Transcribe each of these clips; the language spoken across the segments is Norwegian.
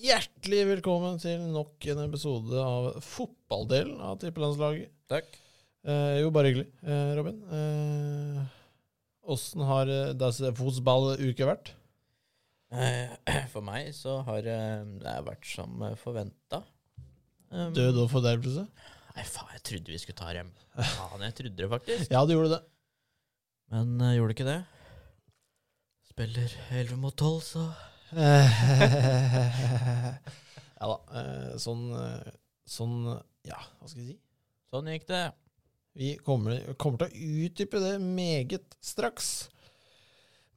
Hjertelig velkommen til nok en episode av fotballdelen av tippelandslaget. Takk. Eh, jo, bare hyggelig, eh, Robin. Eh, Åssen har eh, deres fotballuke vært? Eh, For meg så har eh, det vært som eh, forventa. Død og fordervelse? Nei, faen, jeg trodde vi skulle ta rem. Faen, jeg trodde det faktisk. Ja, du gjorde det. Men eh, gjorde det ikke det. Spiller 11 mot 12, så ja da. eh, sånn, eh, sånn Ja, hva skal jeg si? Sånn gikk det. Vi kommer, kommer til å utdype det meget straks.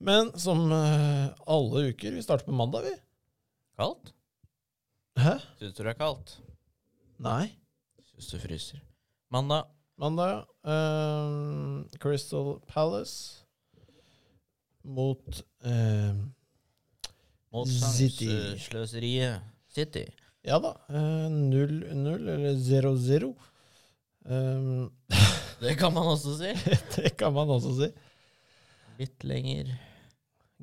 Men som eh, alle uker, vi starter på mandag, vi. Kaldt? Hæ? Syns du det er kaldt? Nei. Syns du fryser. Mandag. Mandag. ehm, Crystal Palace mot ehm, Mot City. sjansesløseriet eh, City. Ja da. eh, 0-0, eller 0-0. Ehm, Det kan man også si. det kan man også si. Litt lenger.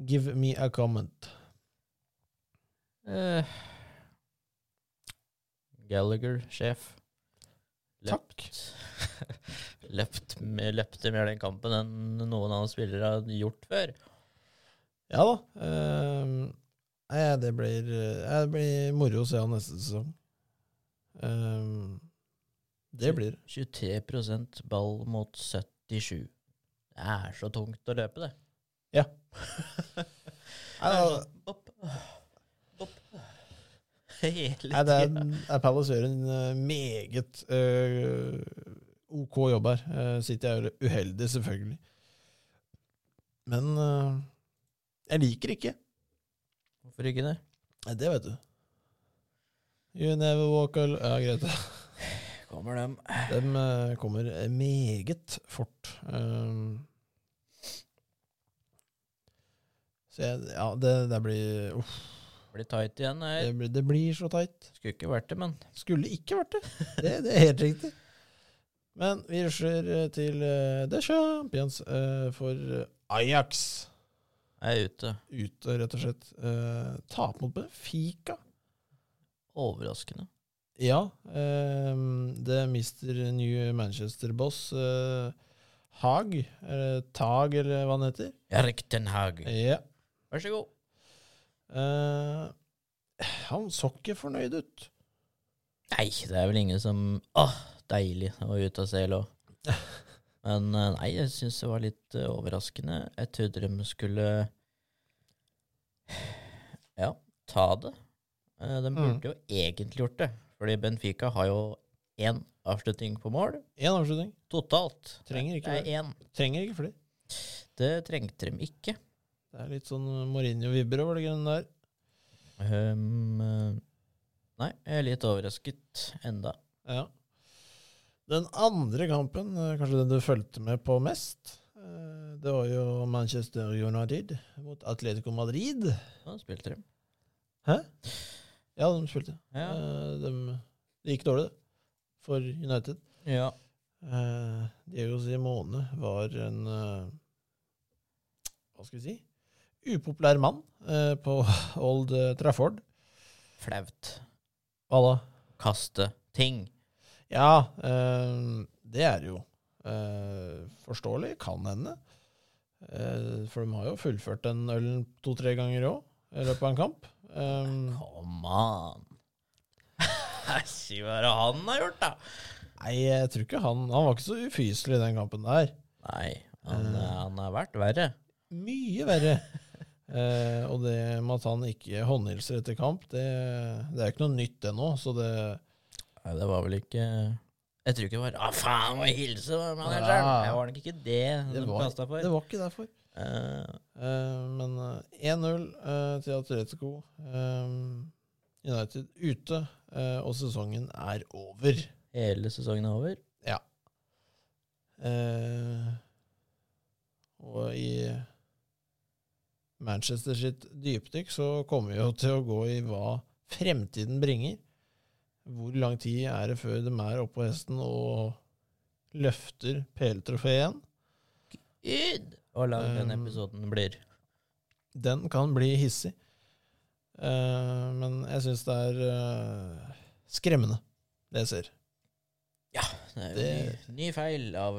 Give me a comment. Eh. Gallagher, sjef. Takk. løpt, med- løpte mer den kampen enn noen andre spillere har gjort før. Ja da. ehm, nei, det blir, eh, det blir moro å se han neste sesong. Ehm, det blir det. 23 ball mot 77. Det er så tungt å løpe, det. Ja. Det er sånn, bopp, bopp. Hele Nei, det er, tida. det er Palace gjør en eh, meget eh, OK jobb her. Eh, City er jo uheldig, selvfølgelig. Men eh, jeg liker ikke. Hvorfor ikke det? Nei, det vet du. You never walk al... Ja, greit. Kommer dem. De kommer meget fort. Ehm, så jeg, ja, det, det blir Uff, Blir tight igjen. det Her. blir, det blir så teit. Skulle ikke vært det, men Skulle ikke vært det. Det, det er helt riktig. Men vi rusler eh, til eh, The Champions eh, for eh, Ajax jeg er ute. ute, rett og slett. Eh, Tap mot Benfica. Overraskende. Ja, eh, det mister New Manchester-boss eh, Haag, eller Tag, eller hva han heter. Erik Den Haag. Ja. Vær så god. Eh, han så ikke fornøyd ut. Nei, det er vel ingen som Åh, deilig å være ute av CL òg. Men eh, nei, jeg syns det var litt eh, overraskende. Jeg trodde de skulle Ja, ta det. Eh, De burde Mm. jo egentlig gjort det. Fordi Benfica har jo én avslutning på mål Én avslutning. totalt. Trenger ikke det. er én. Trenger ikke flere. Det trengte de ikke. Det er litt sånn Mourinho-vibber over det grønne der. Um, eh, nei, jeg er litt overrasket enda. Ja. Den andre kampen, eh, kanskje den du fulgte med på mest, eh, det var jo Manchester United mot Atletico Madrid. Nå spilte de. Ja, de spilte. Ja. Eh, De, det gikk dårlig, det, for United. ja. Eh, Diego Simone var en eh, Hva skal vi si? Upopulær mann eh, på Old Trafford. Flaut. Hva da? Kaste ting. Ja, eh, det er jo eh, forståelig. Kan hende. Eh, for de har jo fullført den ølen to-tre ganger òg i løpet av en kamp. Eh, Come on. Si hva er det han har gjort, da? nei, jeg tror ikke han Han var ikke så ufyselig i den kampen der. Nei, han, eh, han har vært verre. Mye verre. Eh, og det med at han ikke håndhilser etter kamp, det, det er ikke noe nytt ennå. Så det Nei, det var vel ikke Jeg tror ikke det var Å, faen, må jeg hilse var manageren! Ja. Det var nok ikke det, Det de var- kasta for. det var ikke derfor. Eh, Eh, men eh, 1-0 eh, til Atletico. Eh, United ute, eh, og sesongen er over. hele sesongen er over. Eh, og i Manchester sitt dypdykk så kommer vi jo til å gå i hva fremtiden bringer. Hvor lang tid er det før de er oppå hesten og løfter PL-trofeet igjen? Gud! Hvor lang den Um, episoden blir. Den kan bli hissig. Eh, men jeg syns det er eh, skremmende, det jeg ser. Det er jo Det- ny, ny feil av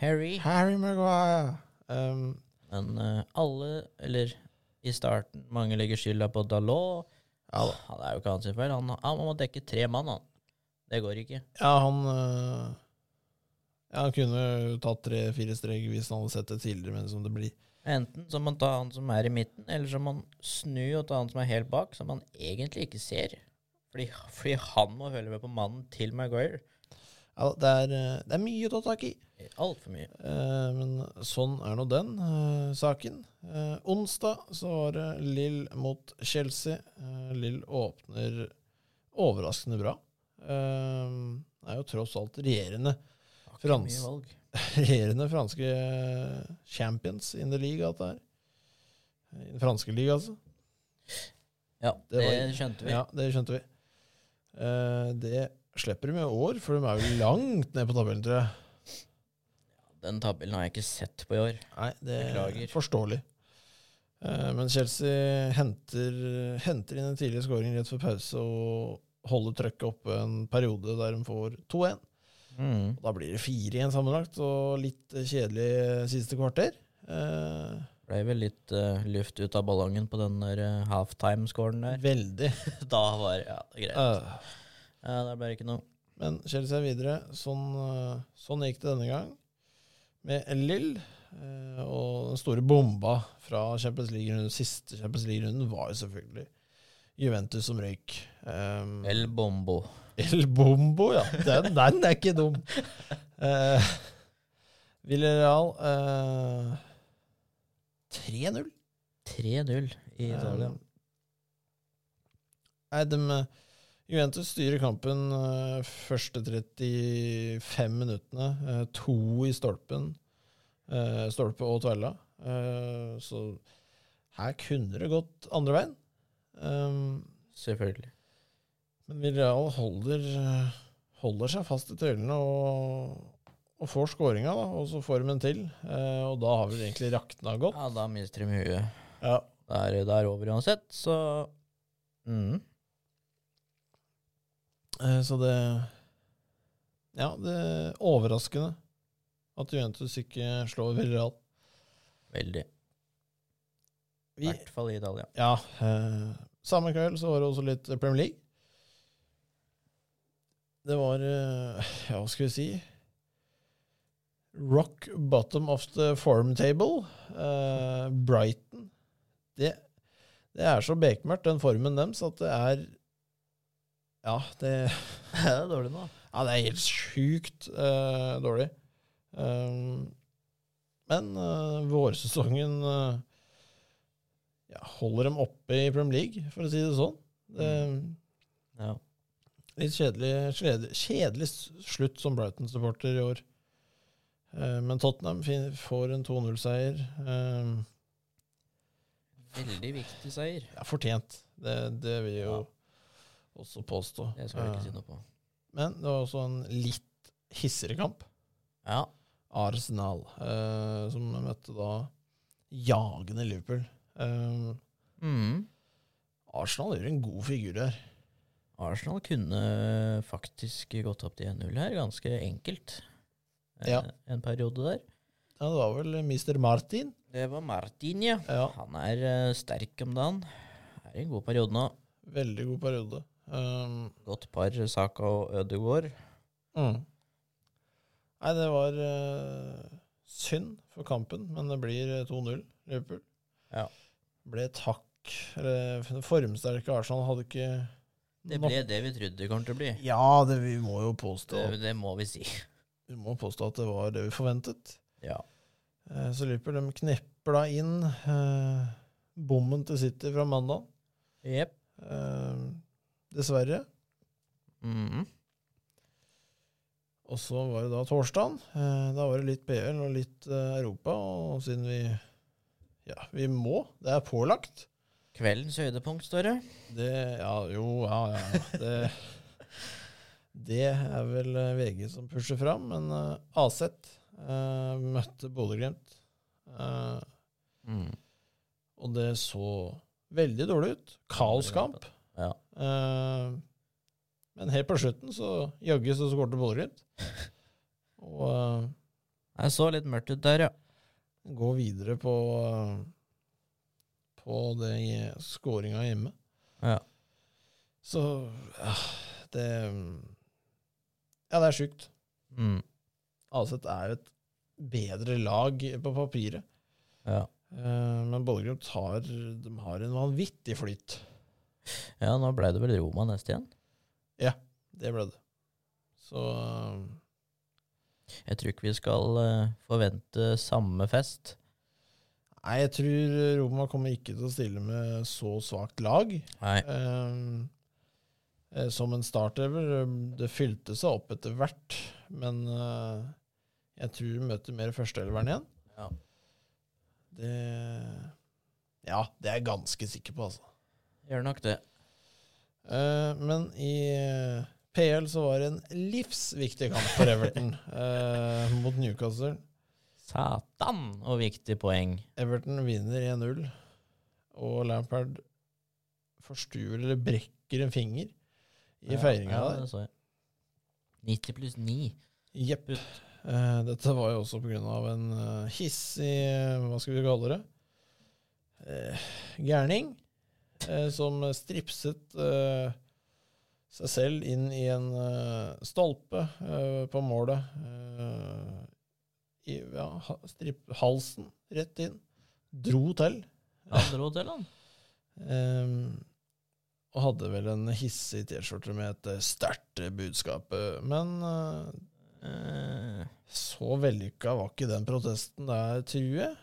Harry. Harry Maguire! Um, Men eh, alle, eller i starten, mange legger skylda på Dalot. ja, da. Han er jo ikke hans feil. Han, han må dekke tre mann, han. Det går ikke. ja, han eh, ja, Han kunne jo tatt tre-fire strek hvis han hadde sett det tidligere, men som det blir. Enten så må man ta han som er i midten, eller så må man snu og ta han som er helt bak, som man egentlig ikke ser. Fordi, fordi han må følge med på mannen til Maguire. Ja, da, det, er, eh, det er mye å ta tak i. Altfor mye. Eh, men sånn er nå den eh, saken. Eh, onsdag så var det Lill mot Chelsea. Eh, Lill åpner overraskende bra. Eh, er jo tross alt regjerende, Har ikke Frans. mye valg. regjerende franske eh, champions in the league, alt det her. I den franske liga, altså. Ja, Det det, var- skjønte vi. Ja, det skjønte vi. Eh, det slipper de i år, for de er jo langt ned på tabellen, tror jeg. Den tabellen har jeg ikke sett på i år. Nei, det Beklager. er forståelig. Eh, Men Chelsea henter, henter inn en tidlig scoring rett før pause og holder trøkket oppe en periode der de får 2-1. Mm. Og Da blir det 4-1 sammenlagt, og litt kjedelig siste kvarter. Eh, Ble vel litt eh, luft ut av ballongen på den der eh, halftime-scoren der. veldig. Da var Ja, greit. Eh, Ja, det ble ikke noe. Men Chelsea er videre. Sånn, eh, sånn gikk det denne gang. Med Lill eh, og den store bomba fra Champions League-runden, siste Champions League-runden, var jo selvfølgelig Juventus som røyk. Eh, El Bombo. El Bombo, ja. Den, den er ikke dum. Uh, Villarreal eh, 3-0. 3-0 i Italia. Eh, Nei, de eh, Juventus styrer kampen eh, første 35 minuttene. eh, to i stolpen. eh, stolpe og tvella. Eh, så her kunne det gått andre veien. Um, Selvfølgelig. men Villarreal holder, holder seg fast i tøylene og, og får skåringa, da, og så får de en til. Eh, og da har vel egentlig rakna godt. Ja, da mister de huet. Ja. Da er det er over uansett, så mm. Eh, så det Ja, det er overraskende at Juventus ikke slår Villarreal. Veldig. I Vi, hvert fall i Italia. ja, eh, samme kveld så var det også litt Premier League. Det var eh, Ja, hva skal vi si? Rock bottom of the form table. Eh, Brighton. Det, det er så bekmørkt, den formen deres, at det er Ja, det det er dårlig nå. Ja, det er helt sjukt eh, dårlig. Um, men eh, vårsesongen eh, ja, holder dem oppe i Premier League, for å si det sånn. Det, Mm. Ja. litt kjedelig, kjedelig, kjedelig slutt som Brighton-supporter i år. Eh, men Tottenham fin, får en 2-0-seier. Um, Veldig viktig seier. ja, fortjent. Det, det vil jeg jo også påstå. Det skal du Eh, ikke si noe på. Men det var også en litt hissigere kamp. Ja. Arsenal, eh, som møtte da jagende Liverpool. Eh, Mm. Arsenal gjør en god figur der. Arsenal kunne faktisk gått opp til 1-0 her, ganske enkelt. Eh, Ja. En periode der. Ja, det var vel Mr. Martin. Det var Martin, ja. Ja, Han er eh, sterk om dagen. Er i en god periode nå. veldig god periode. Eh, Godt par Saka og Ødegaard. mm. Nei, det var eh, synd for kampen, men det blir 2-0 Liverpool. Ja. Ble takk. Eller, det formsterke Arsenal hadde ikke Det nok- ble det vi trodde det kom til å bli. Ja, det, vi må jo påstå Det, det må vi si. Vi må påstå at det var det vi forventet. Ja. Eh, Så Liverpool de knepper da inn eh, bommen til City fra mandag. Jepp. Eh, dessverre. Mhm. Og så var det da torsdagen. Eh, da var det litt BL og litt eh, Europa. Og siden vi Ja, vi må. Det er pålagt. Kveldens høydepunkt, står det. Det Ja, jo, ja, ja. ja. Det, det er vel eh, VG som pusher fram, men eh, Aset eh, møtte Bodø-Glimt. Eh, Mm. og det så Veldig dårlig ut. Kaoskamp. Ja. Eh, men helt på slutten så jaggu så skårte Bodø-Glimt. Og eh, Jeg så litt mørkt ut der, ja. gå videre på eh, På det i- skåringa hjemme. Ja. Så ja, det Ja, det er sjukt. Mm. Aset er jo et bedre lag på papiret. ja. Eh, Men Bodø-Glimt har, de har en vanvittig flyt. Ja, nå ble det vel Roma neste igjen. Det ble det. Så eh, Jeg tror ikke vi skal eh, forvente samme fest. Nei, jeg tror Roma kommer ikke til å stille med så svakt lag. Nei. Eh, eh, som en startlever. eh, Det fylte seg opp etter hvert, men eh, jeg tror vi møter mer førsteelveren igjen. Ja. Det Ja, det er jeg ganske sikker på, altså. Gjør nok det. Eh, men i eh, PL så var det en livsviktig kamp for Everton eh, mot Newcastle. Satan og viktig poeng. Everton vinner 1-0, og Lampard forstuer eller brekker en finger i feiringa ja, der. det så jeg. 90 pluss 9. Jepp. Eh, dette var jo også på grunn av en eh, hissig eh, Hva skal vi kalle det? Eh, gærning eh, som stripset eh, seg selv inn i en eh, stolpe eh, på målet. Eh, i, ja, ha- stripp, halsen rett inn. Dro til. Han dro til, han. Ehm, og hadde vel en hissig T-skjorte med et eh, sterkt eh, budskap. eh, Men eh, Eh, så vellykka var ikke den protesten der, tror jeg.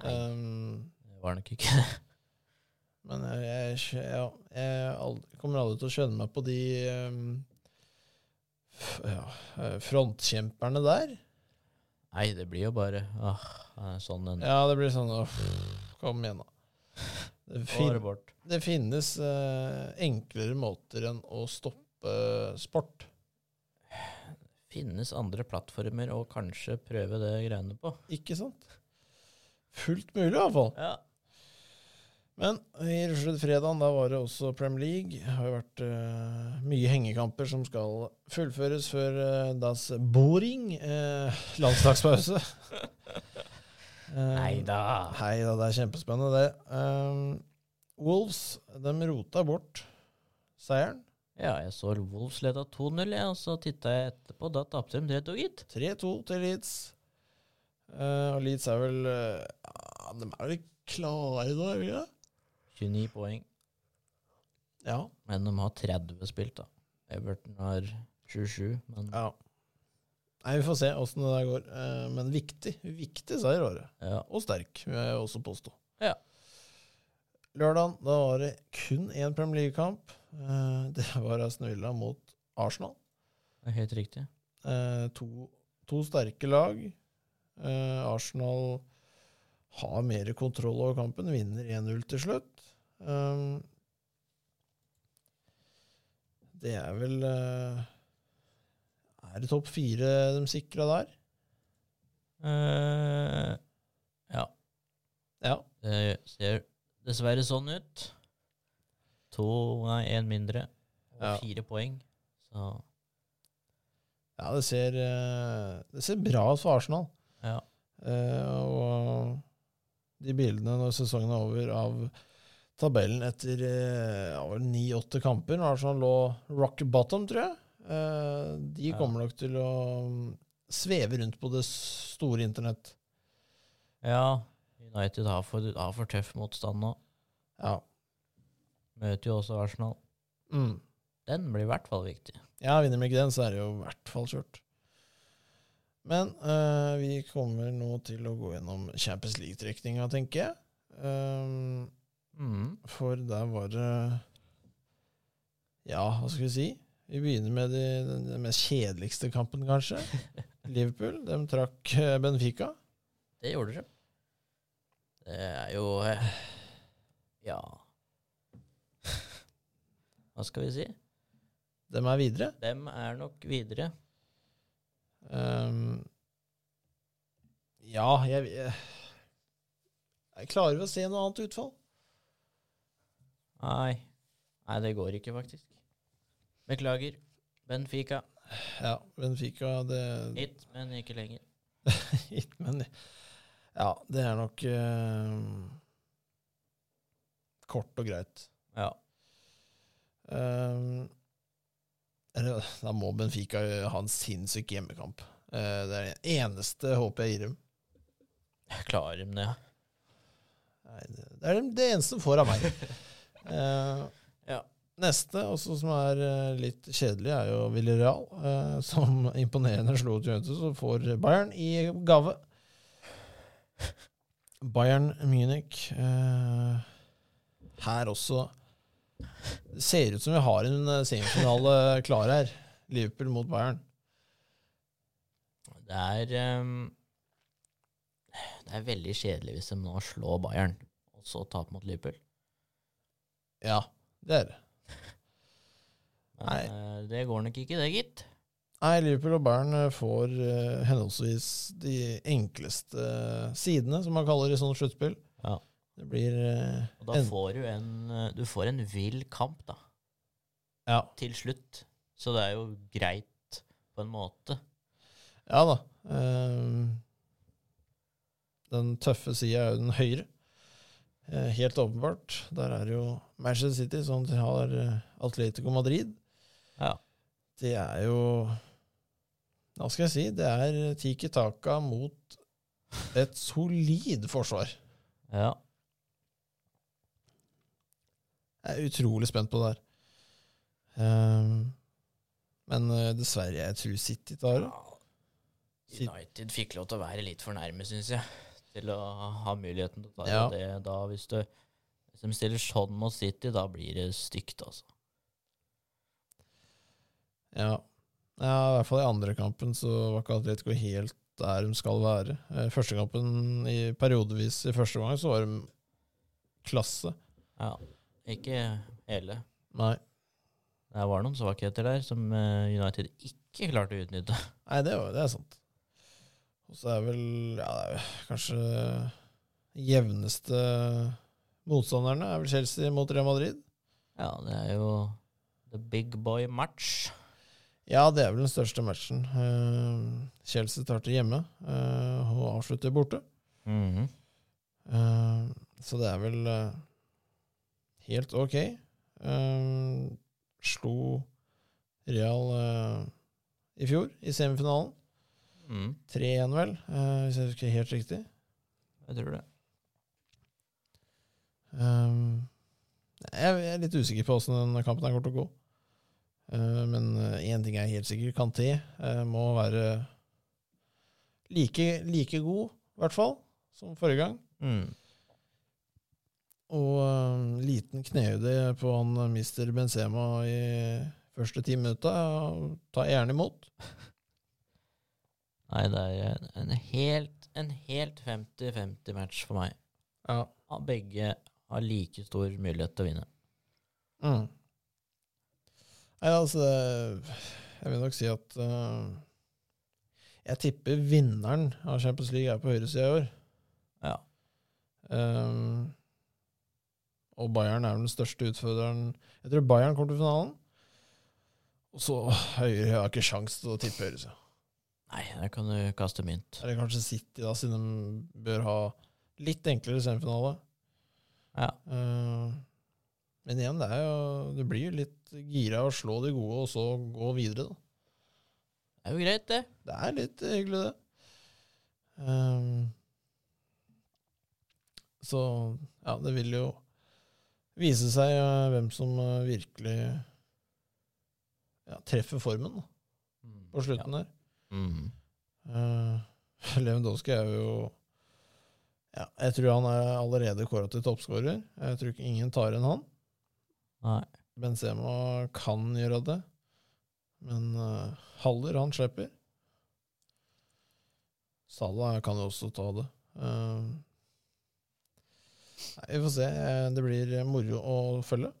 Nei. Ehm, det var nok ikke det. men jeg, jeg, skj- ja, jeg aldri, kommer aldri til å skjønne meg på de ehm, f- ja, eh, frontkjemperne der. Nei, det blir jo bare ah, eh, sånn en Ja, det blir sånn uff, Kom igjen, da. Det, Bare fin, bort. det finnes eh, enklere måter enn å stoppe sport. Finnes andre plattformer å kanskje prøve det greiene på. Ikke sant? Fullt mulig, i hvert fall. Ja. Men i fredagen da var det også Premier League. Det har jo vært eh, mye hengekamper som skal fullføres før eh, das boring, eh, landslagspause. Eh, Nei da. Hei da, det er kjempespennende, det. Um, Wolves de rota bort seieren. Ja, jeg så Wolves leda 2-0, jeg, og så titta jeg etterpå. Da tapte de 3-2, gitt. 3-2 til Leeds. Eh, og Leeds er vel eh, ja, De er vel klare da, er de ikke det? 29 poeng. Ja. Men de har 30 spilt, da. Everton har 27, men Ja. Nei, vi får se åssen det der går. Eh, Men viktig. Viktig seier var det. ja. Og sterk, vil jeg også påstå. Ja. Lørdagen, da var det kun én Premier League-kamp. Eh, Det var Aston Villa mot Arsenal. det er helt riktig. Eh, To, to sterke lag. Eh, Arsenal har mer kontroll over kampen, vinner 1-0 til slutt. Um, det er vel eh, Er det topp fire de sikra der? eh ja. Ja. Det ser dessverre sånn ut. To, nei, én mindre. Og Ja. fire poeng. Så Ja, det ser, eh, det ser bra ut for Arsenal. ja. Eh, og de bildene når sesongen er over av tabellen etter eh, ja, vel ni-åtte kamper, når Arsenal sånn lå rock bottom, tror jeg, eh, de Ja. kommer nok til å mm, sveve rundt på det store internett. ja. United har for, har for tøff motstand nå. Ja. Møter jo også Arsenal. Mm. Den blir i hvert fall viktig. Ja, vinner vi ikke den, så er det jo i hvert fall kjørt. Men eh, vi kommer nå til å gå gjennom Champions League-trekninga, tenker jeg. Um, Mm. For der var det Ja, hva skal vi si? Vi begynner med de, den, den mest kjedeligste kampen, kanskje. Liverpool. De trakk eh, Benfica. Det gjorde de. Det er jo eh, Ja. Hva skal vi si? De er videre. Dem er nok videre. Ehm, ja, jeg, jeg Jeg klarer å se noe annet utfall. Nei. Nei, det går ikke, faktisk. Beklager. Benfica. Ja, Benfica det Hit, men ikke lenger. Hit, men Ja, det er nok eh, kort og greit. Ja. Eh, eller, da må Benfica ha en sinnssyk hjemmekamp. Eh, det er det eneste håpet jeg gir dem. Klarer de det, ja? Nei, det det er det eneste de får av meg. Eh, Ja. Neste, også som er eh, litt kjedelig, er jo Villarreal, eh, som imponerende slo ut Juventus og får Bayern i gave. Bayern Munich eh, Her også Det ser ut som vi har en eh, semifinale klar her. Liverpool mot Bayern. Det er ehm, Det er veldig kjedelig hvis de nå slår Bayern, og så taper mot Liverpool. Ja, det er det. Men eh, det går nok ikke, det, gitt. Nei, Liverpool og Bayern eh, får eh, henholdsvis de enkleste eh, sidene, som man kaller det i sånt sluttspill. Ja. Det blir eh, Og da En- får du en eh, Du får en vill kamp, da, Ja. til slutt. Så det er jo greit, på en måte. Ja da. Ehm, den tøffe sida er jo den høyre. Eh, helt åpenbart. Der er det jo Manchester City som har eh, Atletico Madrid. Ja. Det er jo Hva skal jeg si? Det er Tiki Taka mot et solid forsvar. Ja. Jeg er utrolig spent på det her. Ehm, men eh, dessverre, jeg tror City tar det. United fikk lov til å være litt for nærme, syns jeg, til å ha muligheten til å ta Ja. det. Da, hvis, du, hvis de stiller sånn mot City, da blir det stygt, altså. Ja. ja, i hvert fall i andre kampen så var ikke Atletico helt der de skal være. Eh, Første kampen i periodevis i første gang så var de klasse. Ja. Ikke hele. Nei, Det var noen svakheter der som eh, United ikke klarte å utnytte. Nei det, var, det er sant. Og så er vel ja, det er jo kanskje jevneste motstanderne er vel Chelsea mot Real Madrid. Ja, det er jo the big boy match. Ja, det er vel den største matchen. Eh, Chelsea starter hjemme eh, og avslutter borte. Mhm. Eh, Så det er vel eh, helt ok. Eh, Slo Real eh, i fjor, i semifinalen. mm. 3-1, vel, eh, hvis jeg husker helt riktig. Jeg tror det. Eh, Jeg jeg er litt usikker på åssen den kampen her kommer til å gå. Eh, Men eh, én ting er helt sikker. Kanté eh, må være like, like god, i hvert fall, som forrige gang. Mm. Og øhm, liten knehøyde på han øh, mister Benzema i første ti minutta. og Ta gjerne imot. Nei, det er en- en helt en helt 50-50-match for meg. Ja. Ja, Begge har like stor mulighet til å vinne. Mm. Nei, altså det- Jeg vil nok si at øh, Jeg tipper vinneren av Champions League er på høyresida i år. Ja. Ehm, og Bayern er vel den største utfordreren. Jeg tror Bayern kommer til finalen. Og så Høyre har ikke sjans til å tippe høyresida. Nei, der kan du kaste mynt. Eller kanskje City, da, siden de bør ha litt enklere semifinale. Ja. Eh, men igjen, det, er jo, det blir jo litt gira å slå de gode, og så gå videre, da. Det er jo greit, det. Det er litt hyggelig, det. Eh, så ja, det vil jo vise seg eh, hvem som eh, virkelig ja, treffer formen da, Mm. på slutten der. Ja. Mm. Uh, Lewandowski er jo ja, Jeg tror han er allerede kåra til toppskårer. Jeg tror ikke ingen tar enn han. Nei. Benzema kan gjøre det, men eh, Haller, han slipper. Salah kan jo også ta det. Eh, nei, vi får se. Eh, Det blir moro å følge.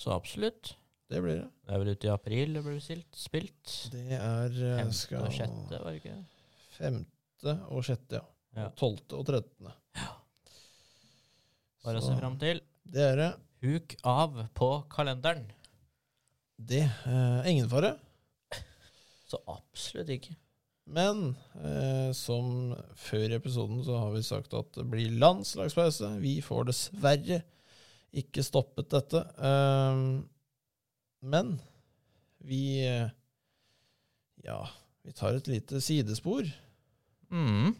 Så absolutt. Det blir det. Det er vel ute i april det blir stilt, spilt. Det er eh, 5. skal, og 6., var det ikke? det? Femte og sjette, ja. Ja. Og tolvte og trettende. Bare å se Så- fram til. Det er det. Huk av på kalenderen. Det er ingen fare. Så absolutt ikke. Men eh, som før i episoden så har vi sagt at det blir landslagspause. Vi får dessverre ikke stoppet dette. Ehm, men vi eh, Ja, vi tar et lite sidespor. Mm.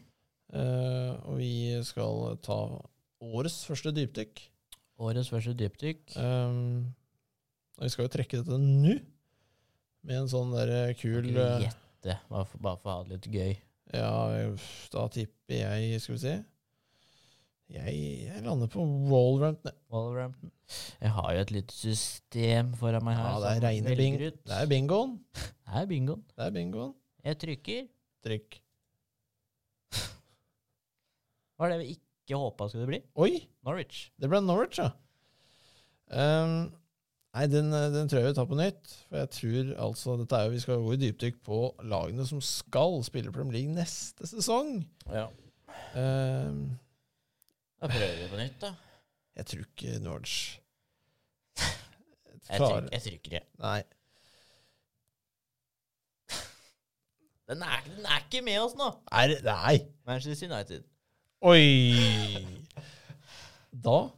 eh, og vi skal ta årets første dypdykk. Årets første dypdykk. Ehm, og vi skal jo trekke dette nå, med en sånn der kul eh, Gjette, bare for, bare for å ha det litt gøy. Ja, uff, da tipper jeg Skal vi se Jeg, jeg lander på wallrant ne- Wolverhampton. Jeg har jo et lite system foran meg her. Ja, det er som reine bing velger ut. Det er bingoen Det er bingoen. Det er bingoen Jeg trykker. Trykk Hva er det vi ikke håpa skulle bli? Oi, Norwich. det ble Norwich ja Ehm, Nei, den, eh, den tror jeg vi tar på nytt For jeg tror altså Dette er jo, vi skal gå i dypdykk på lagene som skal spille Premier League neste sesong Ja. Ehm, Da prøver vi på nytt, da. Jeg tror ikke Norwich Jeg, tryk, jeg trykker, jeg. Nei Den er, ikke- den er ikke med oss nå! Er det- Nei Manchester United. Oi! Da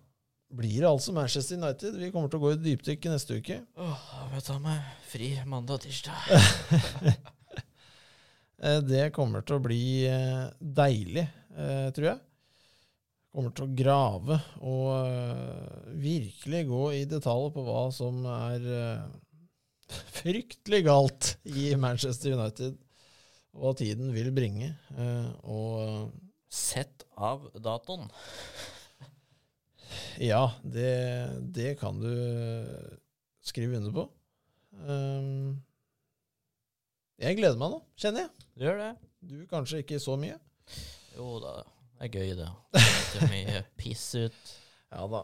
blir det altså Manchester United. Vi kommer til å gå i dypdykk i neste uke. Åh, da må jeg ta meg fri mandag og tirsdag. Eh, Det kommer til å bli eh, deilig, eh, tror jeg. Kommer til å grave og eh, virkelig gå i detalj på hva som er eh, fryktelig galt i Manchester United, og hva tiden vil bringe. Eh, Og Sett av datoen. Ja, det, det kan du eh, skrive under på. Ehm, jeg gleder meg nå, kjenner jeg. Du gjør det? Du kanskje ikke så mye. Jo da, det er gøy, det. Det er ikke mye piss ut. Ja da.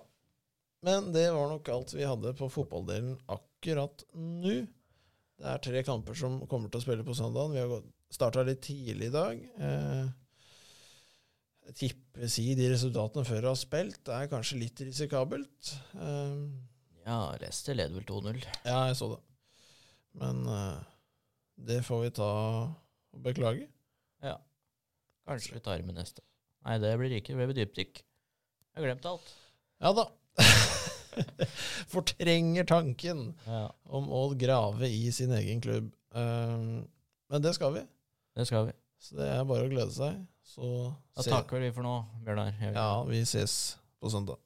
Men det var nok alt vi hadde på fotballdelen akkurat nå. Det er tre kamper som kommer til å spille på søndagen. Vi har starta litt tidlig i dag. Eh, jeg tipper si de resultatene før har spilt. Det er kanskje litt risikabelt. Eh, Ja, Leicester leder vel 2-0. Ja, jeg så det. Men eh, det får vi ta og beklage. Kanskje vi tar med neste. Nei, det blir ikke. Det blir dypdykk. Jeg har glemt alt. Ja da. Fortrenger tanken Ja, om å grave i sin egen klubb. Eh, men det skal vi, det skal vi. så det er bare å glede seg. Så Da se- takker vi for nå, Bjørnar. Jeg vil- ja, vi ses på søndag.